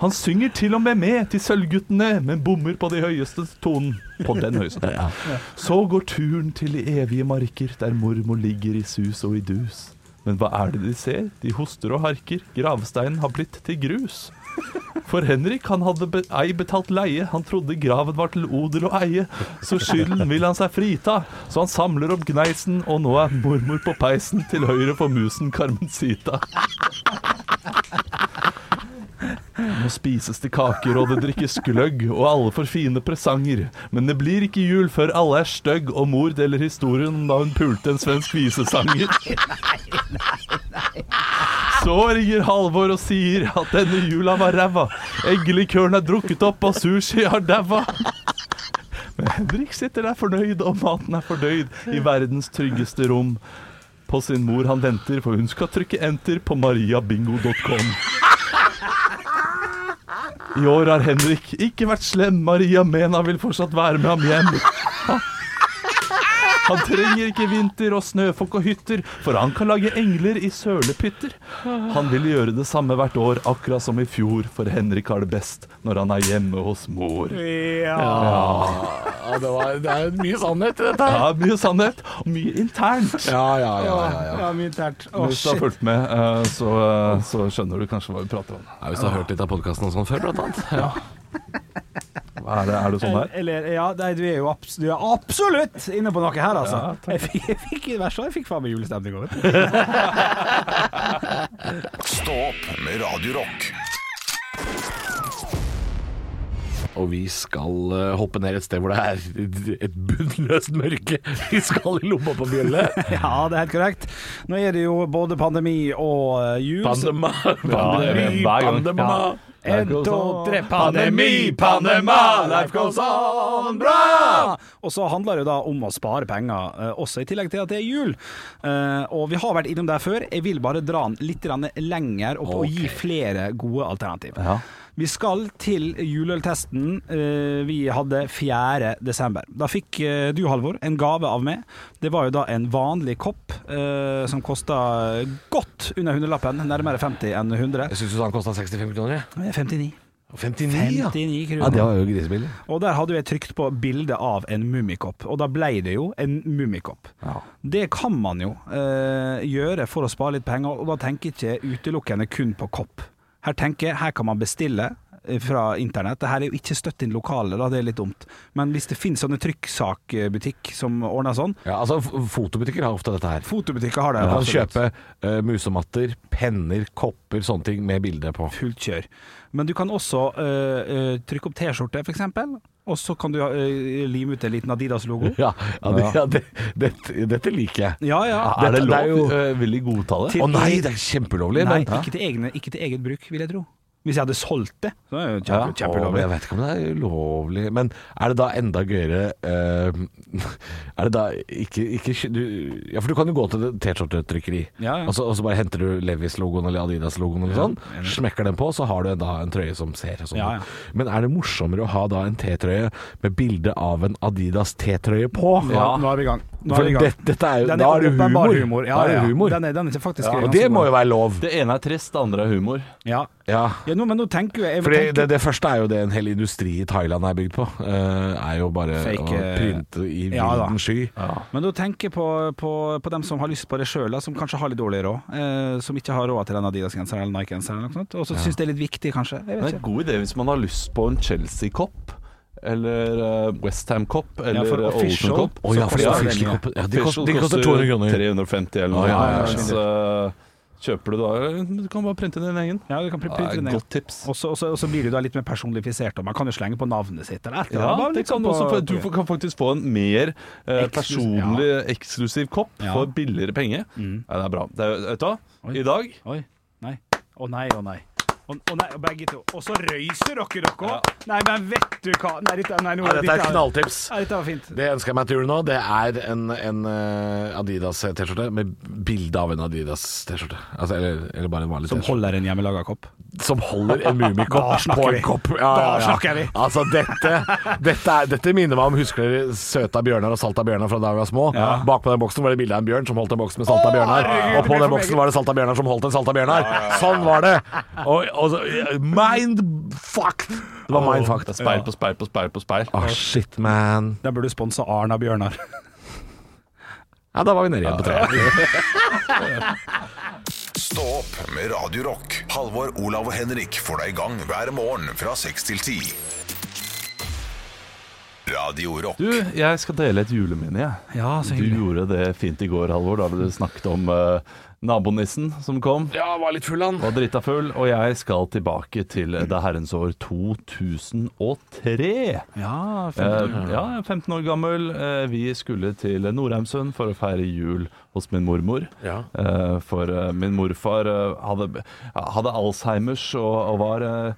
S4: Han synger til og med med til Sølvguttene, men bommer på de høyeste tonen. På den høyeste tonen. Så går turen til de evige marker, der mormor ligger i sus og i dus. Men hva er det de ser? De hoster og harker. Gravsteinen har blitt til grus. For Henrik han hadde be ei betalt leie, han trodde graven var til odel og eie, så skylden vil han seg frita, så han samler opp gneisen, og nå er mormor på peisen, til høyre for musen Carmencita. Nå spises det kaker, og det drikkes gløgg, og alle får fine presanger, men det blir ikke jul før alle er støgg, og mor deler historien om da hun pulte en svensk visesanger. Så ringer Halvor og sier at denne jula var ræva. Eggelikøren er drukket opp, og sushi har daua. Men Henrik sitter der fornøyd, og maten er fordøyd, i verdens tryggeste rom. På sin mor han venter, for hun skal trykke enter på mariabingo.com. I år har Henrik ikke vært slem. Maria Mena vil fortsatt være med ham hjem. Han trenger ikke vinter og snøfokk og hytter, for han kan lage engler i sølepytter. Han vil gjøre det samme hvert år, akkurat som i fjor, for Henrik har det best når han er hjemme hos mor.
S3: Ja, det, var, det er mye sannhet i dette. her.
S4: Ja, mye sannhet, og mye internt.
S3: Ja, ja, ja. ja, ja.
S5: Ja, mye tært. Å,
S4: Hvis du har
S5: shit.
S4: fulgt med, eh, så, eh, så skjønner du kanskje hva vi prater om.
S3: Ja, Hvis du har hørt litt av podkasten og sånn før, blant annet.
S4: Hva Er det, er det sånn her?
S5: Eller, ja, nei, du er jo abs du er absolutt inne på noe her, altså.
S4: Ja, takk.
S5: jeg fikk, jeg fikk, det verste var jeg fikk faen meg julestemning over.
S1: Stå opp med Radio Rock.
S3: Og vi skal eh, hoppe ned et sted hvor det er et bunnløst mørke. Vi skal i lomma på bjelle.
S5: [laughs] Ja, det er helt korrekt. Nå er det jo både pandemi og eh, jul. så-
S3: Panama,
S4: jeg vet,
S3: pandemi,
S4: hver gang.
S3: Panama.
S4: Ja.
S5: En,
S4: goes
S5: to,
S4: on.
S5: tre,
S3: Pandemi, Panama, life goes on, bra!
S5: Og så handler det jo da om å spare penger, eh, også i tillegg til at det er jul. Eh, og vi har vært innom det før. Jeg vil bare dra den litt grann lenger opp og gi
S3: Ok.
S5: flere gode alternativ.
S4: Ja.
S5: Vi skal til juleøltesten eh, vi hadde 4. desember. Da fikk eh, du, Halvor, en gave av meg. Det var jo da en vanlig kopp eh, som kosta godt under hundrelappen, nærmere 50 enn 100.
S3: Jeg syns han kosta 65 kroner. jeg.
S5: 59.
S3: Og 59, ja. ja.
S5: 59
S3: Det
S5: kroner.
S3: var jo grisebillig.
S5: Og der hadde jeg trykt på bilde av en mummikopp, og da ble det jo en mummikopp. Det kan man jo eh, gjøre for å spare litt penger, og da tenker jeg ikke utelukkende kun på kopp. Her tenker jeg, her kan man bestille eh, fra internett. Det her er jo ikke støtt inn lokale, da, det er litt dumt. Men hvis det finnes sånne trykksaksbutikk som ordner sånn,
S3: Ja, altså, f- Fotobutikker har ofte dette her.
S5: fotobutikker har det.
S3: Du kan
S5: absolutt.
S3: kjøpe eh, musematter, penner, kopper, sånne ting med bilde på.
S5: fullt kjør. Men du kan også eh, eh, trykke opp T-skjorte, f.eks., og så kan du eh, lime ut en liten Adidas-logo.
S3: Ja, ja, det, ja det, dette- dette liker jeg.
S5: Ja, ja.
S4: Er det
S3: Dette- det er
S4: lov?
S3: jo-
S4: Eh, Vil de godta det?
S3: Å nei, det er kjempelovlig.
S5: Nei,
S3: men,
S5: ikke til, egne, ikke til eget bruk, vil jeg tro. Hvis jeg hadde solgt det, så er det jo
S3: Ja, å,
S5: kjempe,
S3: men
S5: kjempelovlig.
S3: Jeg vet ikke om det er ulovlig, men er det da enda gøyere eh, [laughs] Er det da ikke, ikke kjø- du, Ja, for du kan jo gå til det T-skjortetrykkeri,
S5: Ja, ja.
S3: og, så- og så bare henter du Levis-logoen eller Adidas-logoen eller sånn, smekker den på, så har du da en trøye som ser sånn ut.
S5: Ja, ja.
S3: Men er det morsommere å ha da en T-trøye med bilde av en Adidas T-trøye på?
S5: Nå, nå er vi i gang. Nå
S3: For
S5: er vi i gang.
S3: det, dette er jo
S5: Den
S3: Da er det
S5: åpenbar
S3: humor.
S5: Ja,
S3: da er det
S5: ja, ja.
S3: humor.
S5: Den er, den er faktisk
S3: og det må jo være lov.
S4: Det ene er trist, det andre er humor.
S5: ja.
S3: Ja.
S5: ja, nå, men nå tenker jo jeg, jeg
S3: Fordi
S5: tenker,
S3: det, det første er jo det en hel industri i Thailand er bygd på. eh, er jo bare
S5: Fake,
S3: å
S5: eh,
S3: prynte i
S5: ja da.
S3: vilden sky.
S5: Men da tenker jeg på, på, på dem som har lyst på det sjøl, som kanskje har litt dårlig råd. Eh, som ikke har råd til den Adidas-genseren eller Nike-genseren eller noe sånt. Og så syns det er litt viktig, kanskje. Jeg
S4: Det
S5: vet
S4: er
S5: ikke.
S4: en god idé hvis man har lyst på en Chelsea-kopp, eller eh, Westham-kopp, eller
S5: for
S4: eh,
S5: official,
S4: Olsen-kopp.
S3: Å ja,
S5: Så
S3: for de
S5: koster
S4: official
S5: det
S3: official
S5: mye.
S3: kopp- ja, de koster, de koster 200 kroner.
S4: 350 eller noe.
S3: Ja, ja, ja, ja.
S4: mens, eh, kjøper du da Du kan bare printe din egen.
S5: Ja, du kan printe
S4: Ja,
S5: den
S4: godt tips.
S5: Og så- og så og så blir du da litt mer personlifisert, og man kan jo slenge på navnet sitt eller et eller
S4: Ja,
S5: annet. Bare
S4: det
S5: litt
S4: kan
S5: sånn
S4: du også,
S5: på-
S4: få- du kan faktisk få en mer eh,
S5: Eksklusiv-
S4: personlig, eksklusiv kopp
S5: Ja.
S4: for billigere penger.
S3: Mm.
S4: Ja, det er bra. Det er, vet du hva?
S5: Oi.
S4: I dag
S5: Oi. Nei. Å nei, å nei. Å å nei, og begge to. Og så røyser dere dere òg. Nei, men vet du hva Nei, dette, nei, nå,
S3: Ja, dette er knalltips.
S5: Nei, dette var fint.
S3: Det ønsker jeg meg til jul nå. Det er en, en eh, Adidas T-skjorte med bilde av en Adidas T-skjorte. Altså, eller, eller bare en vanlig
S5: Som
S3: T-skjorte.
S5: holder en hjemmelaga kopp.
S3: Som holder en
S5: Da
S3: mummikopp
S5: snakker
S3: på
S5: vi.
S3: en kopp.
S5: Da snakker vi.
S3: Altså, dette, dette, er, dette minner meg om Husker dere Søta bjørnar og Salta bjørnar fra da vi var små? Bakpå den boksen var det bilde av en bjørn som holdt en boks med salta bjørnar.
S5: herregud,
S3: Og på
S5: det er
S3: den
S5: for
S3: boksen
S5: meget.
S3: var det salta bjørnar som holdt en salta bjørnar. Sånn var det! Og, og så, mind fucked! Det var mind
S4: Det er
S3: fucked. altså.
S4: speil på speil på speil på speil.
S3: Ah, shit, man.
S5: Den burde sponsa Arna Bjørnar.
S3: Ja, da var vi nede igjen på treet.
S1: Stå opp med Radio Rock. Halvor, Olav og Henrik får deg i gang hver morgen fra 6 til 10. Radio Rock.
S4: Du, jeg skal dele et juleminne, jeg.
S5: Ja, så
S4: Du
S5: hyggelig.
S4: gjorde det fint i går, Halvor, da du snakket om eh, nabonissen som kom.
S3: Ja, var litt full, han.
S4: Var drita full, og jeg skal tilbake til eh, det herrens år 2003.
S5: Ja,
S4: Eh, ja, jeg er 15 år gammel. Eh, vi skulle til Norheimsund for å feire jul hos min mormor.
S3: Ja.
S4: Eh, for eh, min morfar eh, hadde, hadde Alzheimers og, og var eh,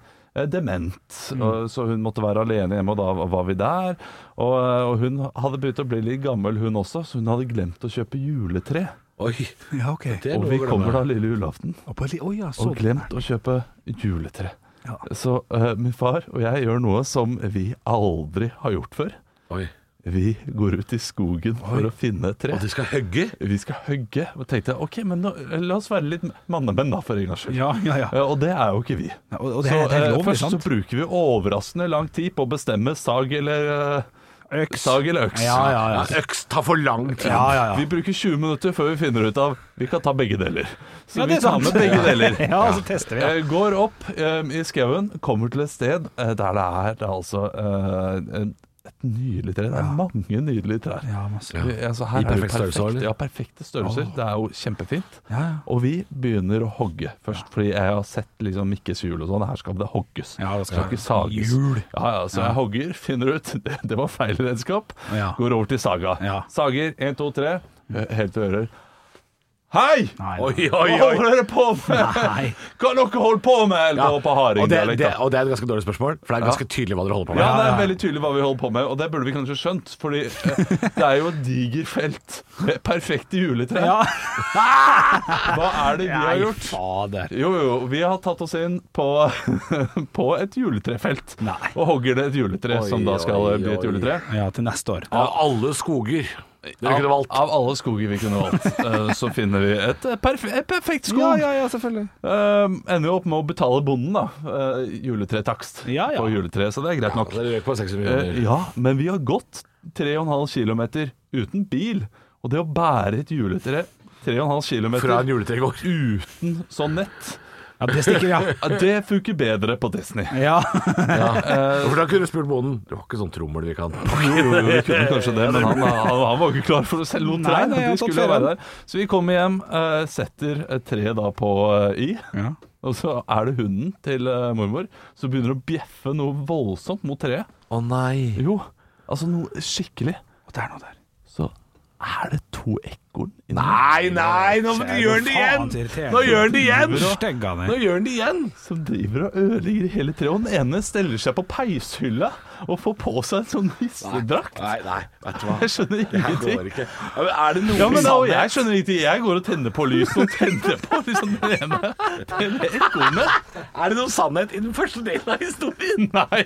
S4: dement. Og, så hun måtte være alene hjemme, og da var vi der. Og, eh, og hun hadde begynt å bli litt gammel, hun også, så hun hadde glemt å kjøpe juletre.
S3: Oi,
S5: ja OK.
S3: det
S4: Og vi kommer da lille julaften
S5: Og på li- Oi, ja, så
S4: og glemt å kjøpe juletre.
S5: Ja.
S4: Så eh, min far og jeg gjør noe som vi aldri har gjort før.
S3: Oi.
S4: Vi går ut i skogen for å finne et tre.
S3: Og de skal hugge?
S4: Vi skal hugge. Og tenkte jeg, ok, men nå, eh, la oss være litt mannemenn da, for en gangs skyld.
S5: Ja, ja, ja.
S4: Eh, Og det er jo ikke vi.
S5: Og, og det,
S4: så
S5: er, det er
S4: eh,
S5: lovlig,
S4: først
S5: sant?
S4: så bruker vi overraskende lang tid på å bestemme sag eller eh,
S5: Øks.
S4: Sag eller øks.
S5: Ja, ja, ja.
S3: Øks tar for lang tid.
S5: Ja, ja, ja.
S4: Vi bruker 20 minutter før vi finner ut av Vi kan ta begge deler. Så
S5: Ja,
S4: vi
S5: det er
S4: tar
S5: sant.
S4: med begge deler.
S5: [laughs] Ja, så tester vi. Ja.
S4: Eh, Går opp eh, i skauen, kommer til et sted eh, der det er, det er altså eh, en- et nydelig tre. Det er mange nydelige trær.
S5: Ja, masse.
S4: Vi- altså,
S3: I
S4: her er det
S3: perfekt størrelse,
S4: perfekte-
S3: eller?
S4: Ja, perfekte størrelser. Det er jo kjempefint.
S5: Ja, ja.
S4: Og vi begynner å hogge først, fordi jeg har sett liksom Mikkes hjul og sånn. Her skal det hogges.
S5: Ja, det skal
S4: ikke sages.
S5: hjul.
S4: Ja, ja, så jeg hogger, finner ut [laughs] det, det var feil redskap.
S5: Ja.
S4: Går over til saga.
S5: Ja.
S4: Sager én, to, tre. Helt til ører. Hei!
S5: Nei,
S3: Oi,
S5: nei.
S3: oi,
S4: Hva
S3: oi.
S4: holder dere på med?
S5: Nei.
S4: Hva dere holder på med? Eller
S3: Ja,
S4: det var på
S3: og, det,
S4: hardingdialekt.
S3: det,
S4: da.
S3: og det er et ganske dårlig spørsmål, for det er ganske tydelig hva dere holder på med.
S4: Ja, det er veldig tydelig hva vi holder på med, og det burde vi kanskje skjønt. Fordi eh, det er jo et digert felt med perfekte juletrær.
S5: Ja.
S4: [laughs] Hva er det vi har
S5: Nei,
S4: gjort?
S5: fader.
S4: Jo, jo, vi har tatt oss inn på, [laughs] på et juletrefelt.
S5: Nei.
S4: Og hogger det et juletre
S3: Oi,
S4: som da skal
S3: oi,
S4: bli et
S3: oi.
S4: juletre.
S5: Ja, til neste år.
S3: Av alle skoger dere kunne valgt.
S4: Av, av alle skoger vi kunne valgt, eh, så finner vi et, eh, perf et perfekt skog.
S5: ja, selvfølgelig.
S4: Um, ender jo opp med å betale bonden, da. eh, juletretakst
S5: Ja, ja.
S4: på juletreet, så det er greit nok.
S3: Dere røk på 600
S4: Eh,
S3: millioner.
S4: ja, men vi har gått 3,5 km uten bil. Og det å bære et juletre 3,5 km
S3: Fra en juletre i går.
S4: uten sånn nett,
S5: Ja, det stikker, ja.
S4: ja, det funker bedre på Disney.
S5: Ja,
S3: For da kunne du spurt bonden Du har ikke sånn trommel vi kan
S4: Jo, jo, vi kunne [laughs] kanskje det, men han, han, han var ikke klar for å selge noen
S5: Nei,
S4: trær.
S5: nei,
S4: De
S5: han har tatt
S4: skulle jo være
S5: ferien.
S4: der. Så vi kommer hjem, eh, setter et tre da på eh, i,
S5: Ja.
S4: og så er det hunden til eh, mormor som begynner å bjeffe noe voldsomt mot treet.
S3: Å nei.
S4: Jo, altså noe skikkelig.
S5: og det er noe der.
S4: Så er det to ekorn inni
S3: Nei, nei, nå
S5: Kjære
S3: gjør den det
S5: faen, så irriterende.
S3: igjen! Nå gjør den det igjen!
S5: Stygg av
S3: Nå
S5: deg.
S3: gjør den det igjen!
S4: som driver og ødelegger hele treet. Og den ene steller seg på peishylla og får på seg en sånn nissedrakt.
S3: Nei, nei, vet du hva.
S4: Jeg skjønner
S3: Det
S4: ingenting.
S3: går ikke. Ja, men Er det noe
S4: Ja, men da,
S3: sannhet?
S4: og jeg skjønner ikke. Jeg går og tenner på lyset og tenner på liksom den ene den ene ekornet.
S3: Er det noe sannhet i den første delen av historien?
S4: Nei,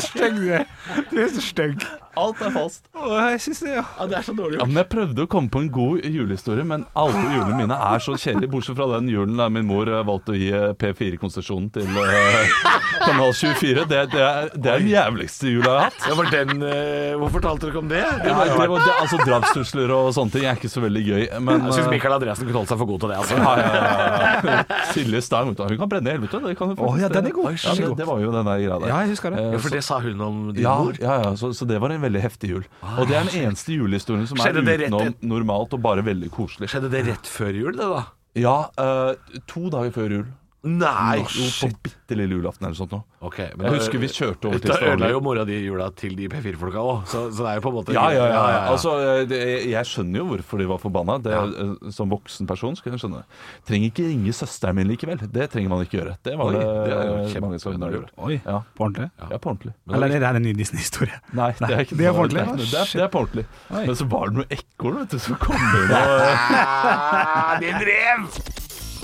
S5: Stygg du er. Du er så stygg.
S4: alt er fast.
S5: Å, Jeg synes det, ja.
S3: Ja, det er så dårlig
S4: Ja,
S3: gjort.
S4: men jeg prøvde å komme på en god julehistorie, men alle julene mine er så kjedelige. Bortsett fra den julen der min mor eh, valgte å gi eh, P4-konsesjonen til eh, [laughs] Kanal 24. Det, det, er, det er den jævligste jula jeg har hatt.
S3: Ja, var den, eh, hvorfor talte dere om det? det
S4: Ja,
S3: var,
S4: det var, det, altså Drapstrusler og sånne ting er ikke så veldig gøy. Men
S3: jeg syns
S4: eh,
S3: Mikael Andreassen kunne holdt seg for god til det. altså
S4: ja, ja, ja, ja. [laughs] Silje Stang, vet du, hun kan brenne i helvete. Det kan hun
S5: Å, ja,
S4: faktisk.
S5: den er god.
S4: Ja, det, det var jo den der greia der.
S5: Ja, jeg husker det.
S4: Eh,
S3: Ja, For det sa hun om din
S4: ja,
S3: mor.
S4: ja, ja så, så det var en veldig heftig jul. Og det er den eneste julehistorien som er
S3: Ah, Skjedde det rett
S4: utenom
S3: et-
S4: normalt og bare veldig koselig.
S3: Skjedde det rett før jul, det da?
S4: Ja, eh, to dager før jul.
S3: Nei!
S4: jo, på bitte lille julaften eller sånt noe.
S3: Ok, men
S4: Jeg
S3: da-
S4: husker vi kjørte over til
S3: Da ødela jo
S4: Stavanger.
S3: mora di jula til de P4-folka òg, så, så det er jo på en måte
S4: Ja, ja, ja. Altså, eh, det, jeg skjønner jo hvorfor de var forbanna. Det, eh, Som voksen person skal jeg skjønne. Trenger ikke ringe søsteren min likevel. Det trenger man ikke gjøre. Det var
S3: Oi,
S4: det,
S3: det er jo
S4: eh, mange som
S3: kjempenærlig
S4: gjorde.
S5: Oi,
S4: Ja.
S5: på ordentlig?
S4: Ja, på ordentlig.
S5: Eller er det her en ny Disney-historie?
S4: Nei, det er ikke
S5: det er på ordentlig.
S4: Det er, det er, det er på ordentlig.
S5: Oi.
S4: Men så var det noe ekorn, vet du, som kom inn og
S3: det er, drev!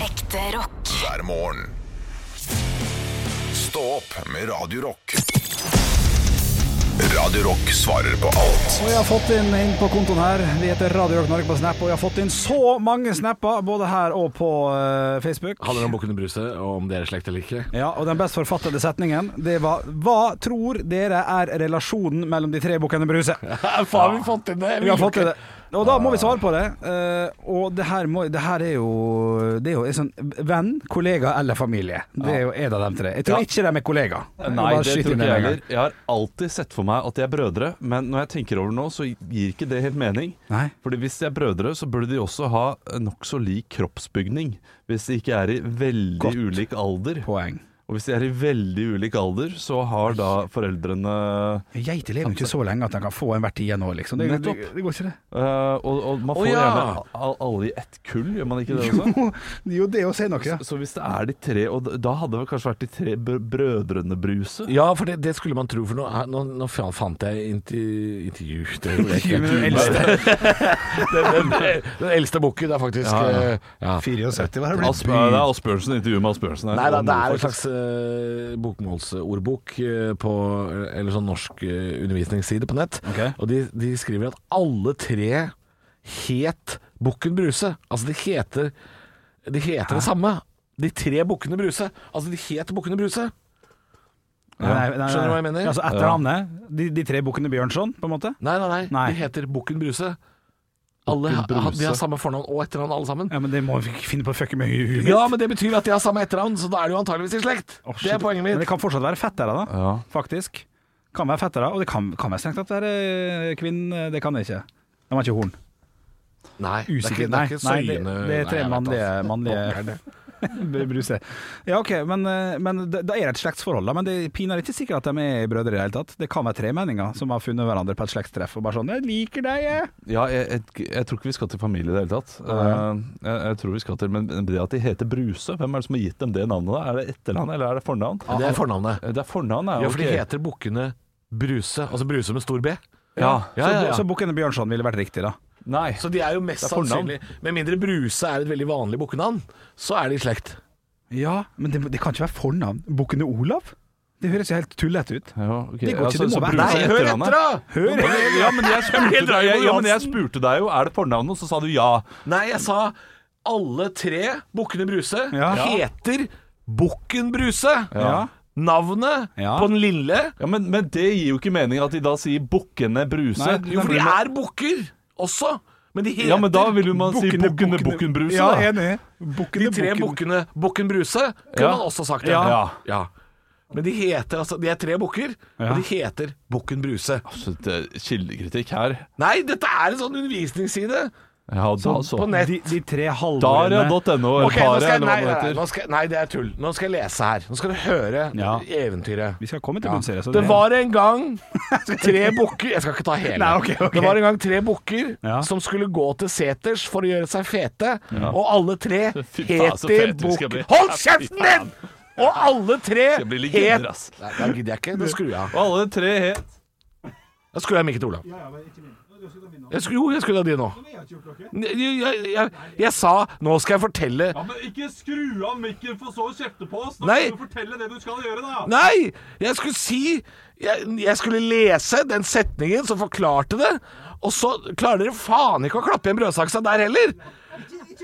S2: Ekte rock.
S1: hver morgen. Stå opp med Radio Rock. Radio Rock svarer på alt
S5: Og jeg har fått inn, inn på kontoen her. Vi heter Radio Rock Norge på Snap, og jeg har fått inn så mange snapper, både her og på eh, Facebook.
S3: Handler om Bukkene Bruse, og om dere er slekt eller
S5: [laughs]
S3: ikke.
S5: Ja, og den best forfattede setningen, det var Hva tror dere er relasjonen mellom de tre bukkene Bruse?
S3: Faen, vi har fått inn det!
S5: Vi har fått til det. Og da må vi svare på det. Eh, og det her, må, det her er jo Det er jo en sånn venn, kollega eller familie. Det er jo en av dem tre. Jeg tror
S4: Ja.
S5: ikke de er kollegaer.
S4: Nei, det tror ikke jeg heller. Jeg har alltid sett for meg at de er brødre, men når jeg tenker over det nå, så gir ikke det helt mening.
S5: Nei.
S4: Fordi hvis de er brødre, så burde de også ha nokså lik kroppsbygning. Hvis de ikke er i veldig
S5: Godt.
S4: ulik alder.
S5: Poeng.
S4: Og hvis de er i veldig ulik alder, så har da foreldrene
S5: Geiter lever jo ikke så lenge at de kan få en hvert tiende år, liksom. Det, det,
S4: Nettopp.
S5: det går ikke, det.
S4: eh, og, og man
S3: Å,
S4: får
S3: ja.
S4: gjerne al- alle i ett kull, gjør man ikke det også?
S5: [laughs] Jo, det å si noe, ja.
S4: Så hvis det er de tre, og d- da hadde det vel kanskje vært de tre br brødrene Bruse?
S3: Ja, for det, det skulle man tro, for nå, er- nå, nå fa- fant jeg intervju, intervju [laughs] det gjorde jeg ikke.
S5: Den eldste.
S3: Den, den, [laughs] den eldste bukken, det er faktisk
S4: Ja, ja.
S3: eh, ja.
S5: 74 var det
S4: Asp- det er Asbjørnsen, intervjuet med Asbjørnsen. her.
S3: Nei da, det er en
S4: Faktisk.
S3: slags eh, eh, bokmålsordbok eh, på Eller sånn norsk eh, undervisningsside på nett.
S5: Ok.
S3: Og de, de skriver at alle tre het Bukken Bruse. Altså de heter De heter det samme. De tre Bukkene Bruse. Altså de het Bukkene Bruse.
S5: Nei, nei, nei.
S3: Skjønner du hva jeg mener?
S5: Altså etter navnet. De, de tre bukkene Bjørnson, på en måte?
S3: Nei, nei, nei.
S5: Nei.
S3: De heter Bukken Bruse. Alle,
S4: Bukken
S3: ha-
S4: Bruse.
S3: De har samme fornavn og etternavn, alle sammen.
S5: Ja, men det må vi ikke finne på å fucke med huet mitt.
S3: Ja, men det betyr at de har samme etternavn, så da er de jo antageligvis i slekt.
S5: Å,
S3: det
S5: shit.
S3: er poenget
S5: Men det
S3: mitt.
S5: kan fortsatt være fettere, da.
S4: Ja.
S5: Faktisk. Kan være fettere, og det kan, kan være strengt tatt være kvinne. Det kan det ikke. De har ikke horn.
S3: Nei, det er
S5: Usikker.
S3: ikke, det
S5: Nei,
S3: er ikke
S5: nei, det,
S3: søyene
S5: det er tre
S3: Nei,
S5: mannlige,
S3: jeg vet
S5: mannlige br- bruse. Ja, OK, men, eh, men det, det er et slektsforhold, da. Men det er pinadø ikke sikkert at de er brødre i det hele tatt. Det kan være tremenninger som har funnet hverandre på et slektstreff og bare sånn 'Jeg liker deg, jeg'.
S4: Ja, jeg, jeg, jeg tror ikke vi skal til familie i det hele tatt. Eh, jeg, jeg tror vi skal til, Men det at de heter Bruse, hvem er det som har gitt dem det navnet? da? Er det etternavn, eller er det fornavn? Eh,
S3: altså. Det er fornavnet.
S4: Det er fornavn, ja.
S3: Ja, for de
S4: ok.
S3: heter bukkene Bruse, altså Bruse med stor B.
S4: ja.
S3: Ja, ja, ja.
S5: Så, så Bukken Bjørnson ville vært riktig, da.
S4: Nei.
S3: Så de er jo mest
S4: Det er fornavn.
S3: sannsynlig Med mindre Bruse er et veldig vanlig bukkenavn, så er de i slekt.
S5: Ja, men det, det kan ikke være fornavn. Bukkene Olav? Det høres jo helt tullete ut.
S4: Ja, ok.
S5: Det går ikke, det må være-
S4: Bruse er
S5: Nei,
S3: hør
S4: etternavnet.
S3: etter, da!
S5: Hør!
S4: Ja, men jeg spurte deg,
S3: Raymond
S4: ja, men jeg
S3: Johansen.
S4: spurte deg jo Er det fornavnet, og så sa du ja.
S3: Nei, jeg sa alle tre Bukkene Bruse
S5: Ja.
S3: heter Bukken Bruse.
S5: Ja.
S3: Navnet
S5: Ja.
S3: på den lille
S4: ja men, men det gir jo ikke mening at de da sier Bukkene Bruse.
S5: Nei,
S3: Jo, for de er bukker også, men de heter
S4: ja, men da vil jo man si
S5: Bukkene,
S4: Bukkene
S5: Bukkene-
S4: Bukken Bruse,
S5: Ja,
S4: da.
S5: enig.
S3: De
S5: Bukkene,
S3: tre
S5: Bukken-
S3: bukkene Bukken Bruse, kunne
S4: Ja.
S3: man også sagt det.
S4: Ja. Ja.
S3: Men de heter altså De er tre bukker,
S5: Ja.
S3: og de heter Bukken Bruse.
S4: Så det er eh, Kildekritikk her.
S3: Nei, dette er en sånn undervisningsside!
S4: Ja, da så.
S3: på nett.
S5: De, de tre halvorene
S4: Daria.no,
S3: Ok, nå skal
S4: paret,
S3: jeg,
S4: eller
S3: nei, nei,
S4: hva det
S3: nei,
S4: heter.
S3: nå skal, nei, det er tull. Nå skal jeg lese her. Nå skal du høre
S5: Ja.
S3: eventyret.
S5: Vi skal komme til bunns i det. så
S3: Det var en gang
S5: [laughs]
S3: tre bukker Jeg skal ikke ta hele.
S5: Nei, ok, ok.
S3: Det var en gang tre bukker
S5: Ja.
S3: som skulle gå til seters for å gjøre seg fete, og alle tre
S4: [laughs] Fy faen, så
S3: heter
S4: fete du skal
S3: bukker
S4: bli.
S3: Hold kjeften din! Og alle tre
S4: Jeg blir
S3: het
S4: legender, ass.
S3: Nei, da gidder jeg ikke. Da skrur jeg av.
S4: Og alle tre het
S3: Da skrur jeg mikken til Olav. Jeg skrur, jo, jeg skrur av de nå. Jeg, jeg, jeg, jeg sa 'nå skal jeg fortelle'
S4: Ikke skru av mikken, for så å kjefte på oss!
S3: Nå Nei. må du
S4: fortelle det du skal gjøre, da!
S3: Nei! Jeg skulle si jeg, jeg skulle lese den setningen som forklarte det, og så klarer dere faen ikke å klappe igjen brødsaksa der heller!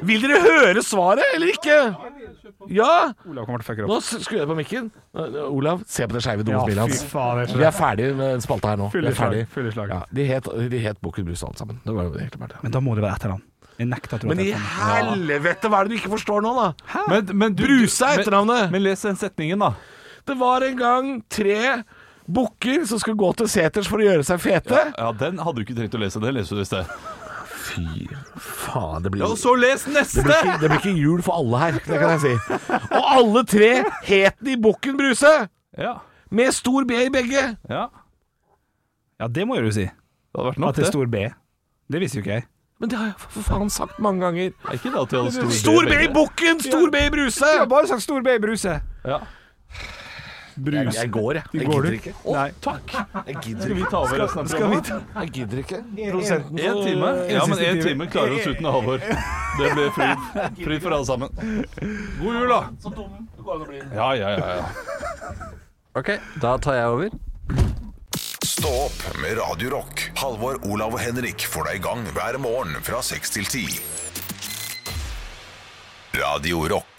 S3: Vil dere høre svaret eller ikke? Ja!
S5: Olav kommer til å fucke det opp.
S3: Nå s- skrur jeg på mikken. Nå- Olav, se på det skeive dommesmilet hans.
S5: faen, jeg
S3: Vi er ferdig med den spalta her nå. Vi
S5: Full i
S3: er
S5: slag,
S3: ferdig.
S5: full i slag.
S3: Ja, de het, de het Bukken Bruse alle sammen. Det var jo egentlig bare det.
S5: Men da må det være etternavn. Jeg nekter at du
S3: Men i
S5: etternavn.
S3: helvete, hva er det du ikke forstår nå, da?
S4: Men, men du,
S3: Bruse er
S4: men-
S3: etternavnet.
S4: Men les den setningen, da.
S3: Det var en gang tre bukker som skulle gå til seters for å gjøre seg fete.
S4: Ja, Den hadde du ikke trengt å lese. Det leser du i sted.
S3: Fy faen, det blir
S4: Og så les neste!
S3: det blir, ikke, det blir ikke jul for alle her, det kan jeg si. Og alle tre het de Bukken Bruse,
S4: Ja.
S3: med stor B i begge.
S4: ja.
S5: Ja, det må jo du si.
S4: Det hadde vært
S5: At
S4: nok,
S5: det er
S4: det.
S5: stor B. Det visste jo ikke jeg.
S3: Men det har jeg for faen sagt mange ganger.
S4: Det er ikke det at de hadde stor,
S3: Stor B i
S4: begge.
S3: Bukken, stor B i Bruse!
S5: bare sagt stor B i bruse.
S4: Ja.
S3: Jeg, jeg går, jeg. Jeg
S5: Går du?
S3: gidder ikke. Å,
S5: Nei.
S3: takk. Jeg gidder
S4: Skal
S3: ikke.
S4: vi ta over resten av
S5: Skal vi
S4: programmet?
S5: ta
S3: Jeg gidder ikke. Prosenten
S4: Én time? Ja, men én time klarer oss uten Halvor. Det blir fryd. Fryd for alle sammen. God jul, da. Så dum du går an å bli. Ja, ja, ja. ja.
S8: Ok, da tar jeg over.
S1: Stå opp med Radio Rock. Halvor, Olav og Henrik får deg i gang hver morgen fra 6 til 10. Radio Rock.